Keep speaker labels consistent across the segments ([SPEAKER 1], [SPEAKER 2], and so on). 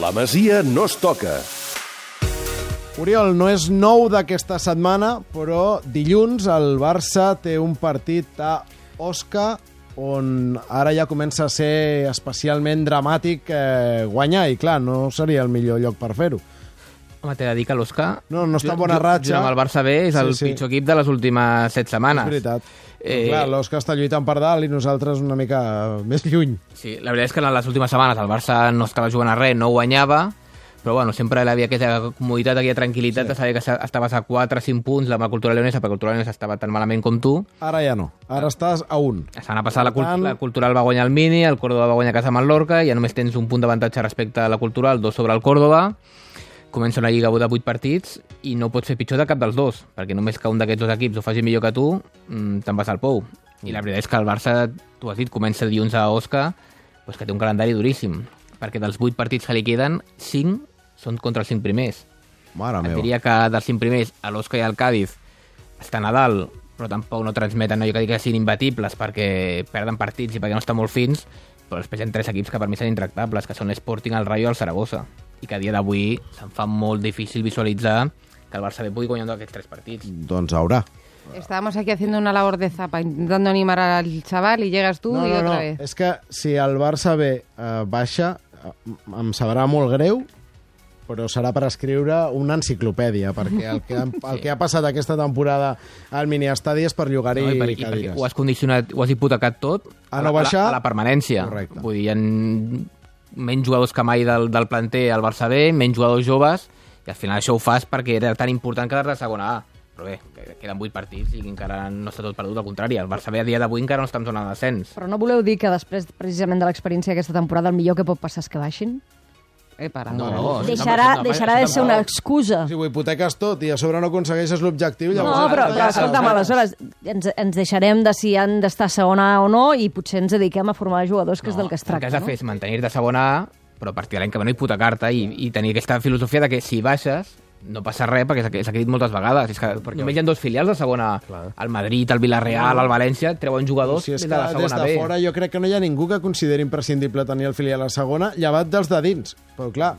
[SPEAKER 1] La Masia no es toca.
[SPEAKER 2] Oriol, no és nou d'aquesta setmana, però dilluns el Barça té un partit a Osca on ara ja comença a ser especialment dramàtic eh, guanyar, i clar, no seria el millor lloc per fer-ho.
[SPEAKER 3] Home, t'he de dir que l'Osca...
[SPEAKER 2] No, no està en bona ratxa.
[SPEAKER 3] Amb el Barça B és el
[SPEAKER 2] Sí, sí.
[SPEAKER 3] pitjor equip de les últimes set setmanes.
[SPEAKER 2] És veritat. Eh...
[SPEAKER 3] Eh,
[SPEAKER 2] Clar, l'Òscar està lluitant per dalt i nosaltres una mica més lluny.
[SPEAKER 3] Sí, la veritat és que en les últimes setmanes el Barça no estava jugant a res, no guanyava, però bueno, sempre hi havia aquesta comoditat, aquella tranquil·litat sí. de saber que sa- estaves a 4 o 5 punts amb la cultura leonesa, perquè la cultura leonesa estava tan malament com tu.
[SPEAKER 2] Ara ja no. Ara estàs a un.
[SPEAKER 3] La setmana passada la,
[SPEAKER 2] Per tant-
[SPEAKER 3] cult la cultural va guanyar el Mini, el Córdoba va guanyar a casa amb el Lorca, ja només tens un punt d'avantatge respecte a la cultural, dos sobre el Córdoba, comença una lliga de 8 partits i no pots fer pitjor de cap dels dos, perquè només que un d'aquests dos equips ho faci millor que tu, mm, te'n vas al pou. I la veritat és que el Barça, tu has dit, comença dilluns a Osca, doncs que té un calendari duríssim, perquè dels 8 partits que li queden, 5 són contra els 5 primers.
[SPEAKER 2] Mare
[SPEAKER 3] Et
[SPEAKER 2] meva.
[SPEAKER 3] diria que dels 5 primers, a l'Osca i al Cádiz, estan a dalt, però tampoc no transmeten allò que dic que siguin imbatibles perquè perden partits i perquè no estan molt fins, però després hi ha tres equips que per mi són intractables, que són l'Sporting, el Rayo i el Saragossa, i que a dia d'avui se'n fa molt difícil visualitzar que el Barça B pugui guanyar un d'aquests tres partits.
[SPEAKER 2] Doncs haurà.
[SPEAKER 4] Estábamos aquí haciendo una labor de zapa, intentando animar al chaval y llegas tú
[SPEAKER 2] no,
[SPEAKER 4] y
[SPEAKER 2] no,
[SPEAKER 4] otra
[SPEAKER 2] no.
[SPEAKER 4] vez.
[SPEAKER 2] És que si el Barça B eh, baixa, eh, m- em sabrà molt greu, però serà per escriure una enciclopèdia, perquè el que, han- el que ha passat aquesta temporada al miniestadi és per llogar-hi
[SPEAKER 3] No? I, per, I perquè
[SPEAKER 2] cadires.
[SPEAKER 3] ho has condicionat, ho has hipotecat tot
[SPEAKER 2] A
[SPEAKER 3] la-
[SPEAKER 2] no baixar.
[SPEAKER 3] la, a la permanència.
[SPEAKER 2] Correcte.
[SPEAKER 3] Vull dir, hi ha menys jugadors que mai del, del planter al Barça B, menys jugadors joves, i al final això ho fas perquè era tan important que de segona A. Però bé, que- queden 8 partits i que encara no està tot perdut, al contrari, el Barça B a dia d'avui encara no està en zona de descens.
[SPEAKER 5] Però no voleu dir que després, precisament, de l'experiència aquesta temporada, el millor que pot passar és que baixin?
[SPEAKER 4] He parado.
[SPEAKER 3] No, no,
[SPEAKER 5] Deixarà, deixarà de ser una excusa.
[SPEAKER 2] Si ho hipoteques tot i a sobre no aconsegueixes l'objectiu,
[SPEAKER 5] No,
[SPEAKER 2] llavors...
[SPEAKER 5] però,
[SPEAKER 2] ja
[SPEAKER 5] però
[SPEAKER 2] saps.
[SPEAKER 5] escolta'm, aleshores, ens, ens deixarem de si han d'estar a segona A o no i potser ens dediquem a formar jugadors, que és del que es
[SPEAKER 3] El que has
[SPEAKER 5] tracta,
[SPEAKER 3] de fer
[SPEAKER 5] no?
[SPEAKER 3] és mantenir-te a segona A, però a partir de l'any que ve no hipotecar-te i, i tenir aquesta filosofia de que si baixes no passa res, perquè s'ha- s'ha dit moltes vegades. És que Perquè només hi ha dos filials de segona A. El Madrid, el Villarreal, el València, treuen jugadors
[SPEAKER 2] Si és que
[SPEAKER 3] des de la
[SPEAKER 2] des
[SPEAKER 3] segona
[SPEAKER 2] de
[SPEAKER 3] B.
[SPEAKER 2] fora jo crec que no hi ha ningú que consideri imprescindible tenir el filial a la segona, llevat dels de dins. Però clar,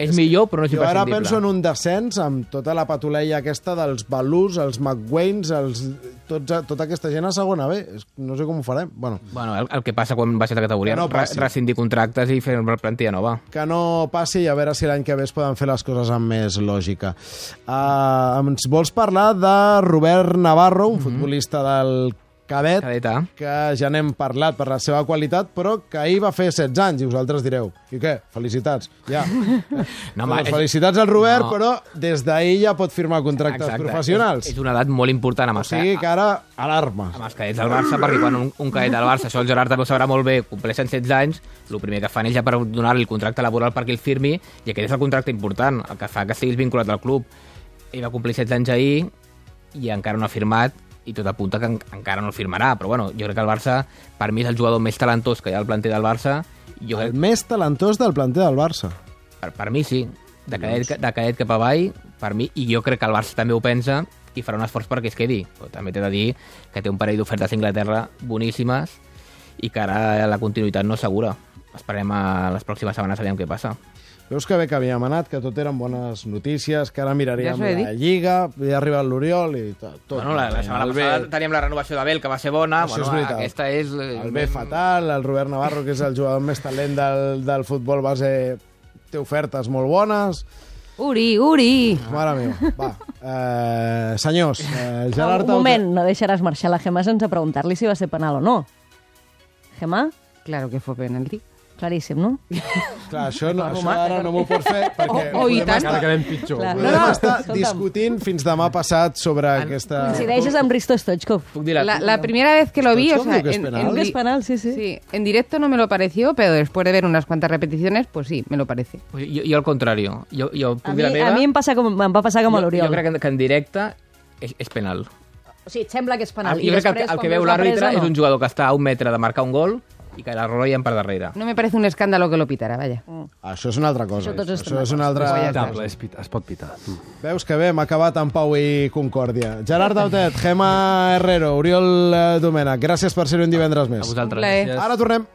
[SPEAKER 3] És millor, però no és
[SPEAKER 2] jo ara penso en
[SPEAKER 3] imprescindible.
[SPEAKER 2] un descens amb tota la patuleia aquesta dels Balús, els McWaynes, els, tots, tota aquesta gent a segona B. És- No sé com ho farem. Bueno,
[SPEAKER 3] Bueno, el, el que passa quan baixes de categoria,
[SPEAKER 2] Que no
[SPEAKER 3] no
[SPEAKER 2] passi.
[SPEAKER 3] rescindir contractes i fer una plantilla nova.
[SPEAKER 2] que no passi i a veure si l'any que ve es poden fer les coses amb més lògica. Uh, ens vols parlar de Robert Navarro,
[SPEAKER 3] Mm-hmm.
[SPEAKER 2] un futbolista del Cadet,
[SPEAKER 3] Cadeta.
[SPEAKER 2] que ja n'hem parlat per la seva qualitat, però que ahir va fer 16 anys, i vosaltres direu, i què? Felicitats, ja.
[SPEAKER 3] No,
[SPEAKER 2] No,
[SPEAKER 3] home,
[SPEAKER 2] doncs
[SPEAKER 3] és-
[SPEAKER 2] felicitats al Robert,
[SPEAKER 3] no.
[SPEAKER 2] no. però des d'ahir ja pot firmar contractes Exacte. professionals.
[SPEAKER 3] És, és una edat molt important amb
[SPEAKER 2] O
[SPEAKER 3] els,
[SPEAKER 2] sigui que ara, alarma.
[SPEAKER 3] amb els cadets del Barça, perquè quan un, un cadet del Barça, això el Gerard també ho sabrà molt bé, compleixen 16 anys, el primer que fan és ja per donar-li el contracte laboral perquè el firmi, i aquest és el contracte important, el que fa que estiguis vinculat al club. Ell va complir 16 anys ahir i encara no ha firmat, i tot apunta que en, encara no el firmarà, però bueno, jo crec que el Barça, per mi, és el jugador més talentós que hi ha al planter del Barça, i jo crec
[SPEAKER 2] El més talentós del planter del Barca.
[SPEAKER 3] Per, per mi sí. De
[SPEAKER 2] Doncs-
[SPEAKER 3] cadet, de cadet cap avall, per mi, i jo crec que el Barça també ho pensa i farà un esforç perquè es quedi. Però també t'he de dir que té un parell d'ofertes a Anglaterra boníssimes i que ara la continuïtat no és segura. Esperem a les pròximes setmanes a veure què passa.
[SPEAKER 2] Veus que bé que havíem anat, que tot eren bones notícies, que ara miraríem
[SPEAKER 4] Ja us ho he
[SPEAKER 2] la Lliga, ja ha arribat l'Oriol i tot. tot
[SPEAKER 3] bueno, la, la setmana
[SPEAKER 2] el bé,
[SPEAKER 3] passada teníem la renovació d'Abel, que va ser bona.
[SPEAKER 2] Això és
[SPEAKER 3] bueno,
[SPEAKER 2] veritat.
[SPEAKER 3] aquesta és... eh,
[SPEAKER 2] El B fatal, el Robert Navarro, que és el jugador més talent del, del futbol base, té ofertes molt bones.
[SPEAKER 4] Uri, Uri.
[SPEAKER 3] Ah.
[SPEAKER 2] Mare meva, va. Eh, senyors, eh, Gerard...
[SPEAKER 5] Un moment, no deixaràs marxar la Gemma sense preguntar-li si va ser penal o no. Gemma?
[SPEAKER 4] Claro que fue penalti.
[SPEAKER 5] Claríssim, no?
[SPEAKER 2] Clar, això, no, això ara no m'ho pots fer perquè
[SPEAKER 4] Oh, oh, i
[SPEAKER 2] podem,
[SPEAKER 4] tant.
[SPEAKER 2] estar,
[SPEAKER 6] quedem pitjor.
[SPEAKER 5] Clar.
[SPEAKER 2] podem estar
[SPEAKER 5] escolta'm.
[SPEAKER 2] discutint fins demà passat sobre aquesta...
[SPEAKER 3] Ah.
[SPEAKER 5] Coincideixes amb Risto Stoichkov.
[SPEAKER 3] Puc dir la...
[SPEAKER 4] La, la primera vez que lo vi,
[SPEAKER 2] Pues
[SPEAKER 4] o sea,
[SPEAKER 2] obvio que es
[SPEAKER 4] en,
[SPEAKER 2] penal.
[SPEAKER 4] en
[SPEAKER 2] Creo
[SPEAKER 5] que
[SPEAKER 4] di-
[SPEAKER 5] es penal, sí, sí.
[SPEAKER 4] Sí, en directo no me lo pareció, pero después de ver unas cuantas repeticiones, pues sí, me lo parece.
[SPEAKER 3] Jo, jo, al contrari. Jo, jo puc
[SPEAKER 5] A mi,
[SPEAKER 3] dir la meva.
[SPEAKER 5] a mi em, passa com, em va passar com a
[SPEAKER 3] Jo-
[SPEAKER 5] l'Oriol.
[SPEAKER 3] Jo crec que, que en directe és, és penal.
[SPEAKER 5] O sigui, et sembla que és
[SPEAKER 3] El, Ah,
[SPEAKER 5] penal.
[SPEAKER 3] jo
[SPEAKER 5] I
[SPEAKER 3] crec que el,
[SPEAKER 5] després,
[SPEAKER 3] el que
[SPEAKER 5] quan
[SPEAKER 3] veu
[SPEAKER 5] veus la
[SPEAKER 3] l'àrbitre
[SPEAKER 5] presa, no.
[SPEAKER 3] és un jugador que està a un metre de marcar un gol i que la rola ja en per darrere.
[SPEAKER 4] No me parece un escándalo que lo pitara, vaya.
[SPEAKER 5] Mm.
[SPEAKER 2] Això és una altra cosa.
[SPEAKER 5] Això tots estem
[SPEAKER 2] és una altra...
[SPEAKER 6] Pitable, es, pit, es pot pitar.
[SPEAKER 2] Veus que bé, hem acabat amb Pau i Concòrdia. Gerard Dautet, Gemma Herrero, Oriol eh, Domènech, gràcies per ser un divendres
[SPEAKER 3] A
[SPEAKER 2] més.
[SPEAKER 3] vosaltres.
[SPEAKER 4] Un plaer.
[SPEAKER 2] Ara tornem.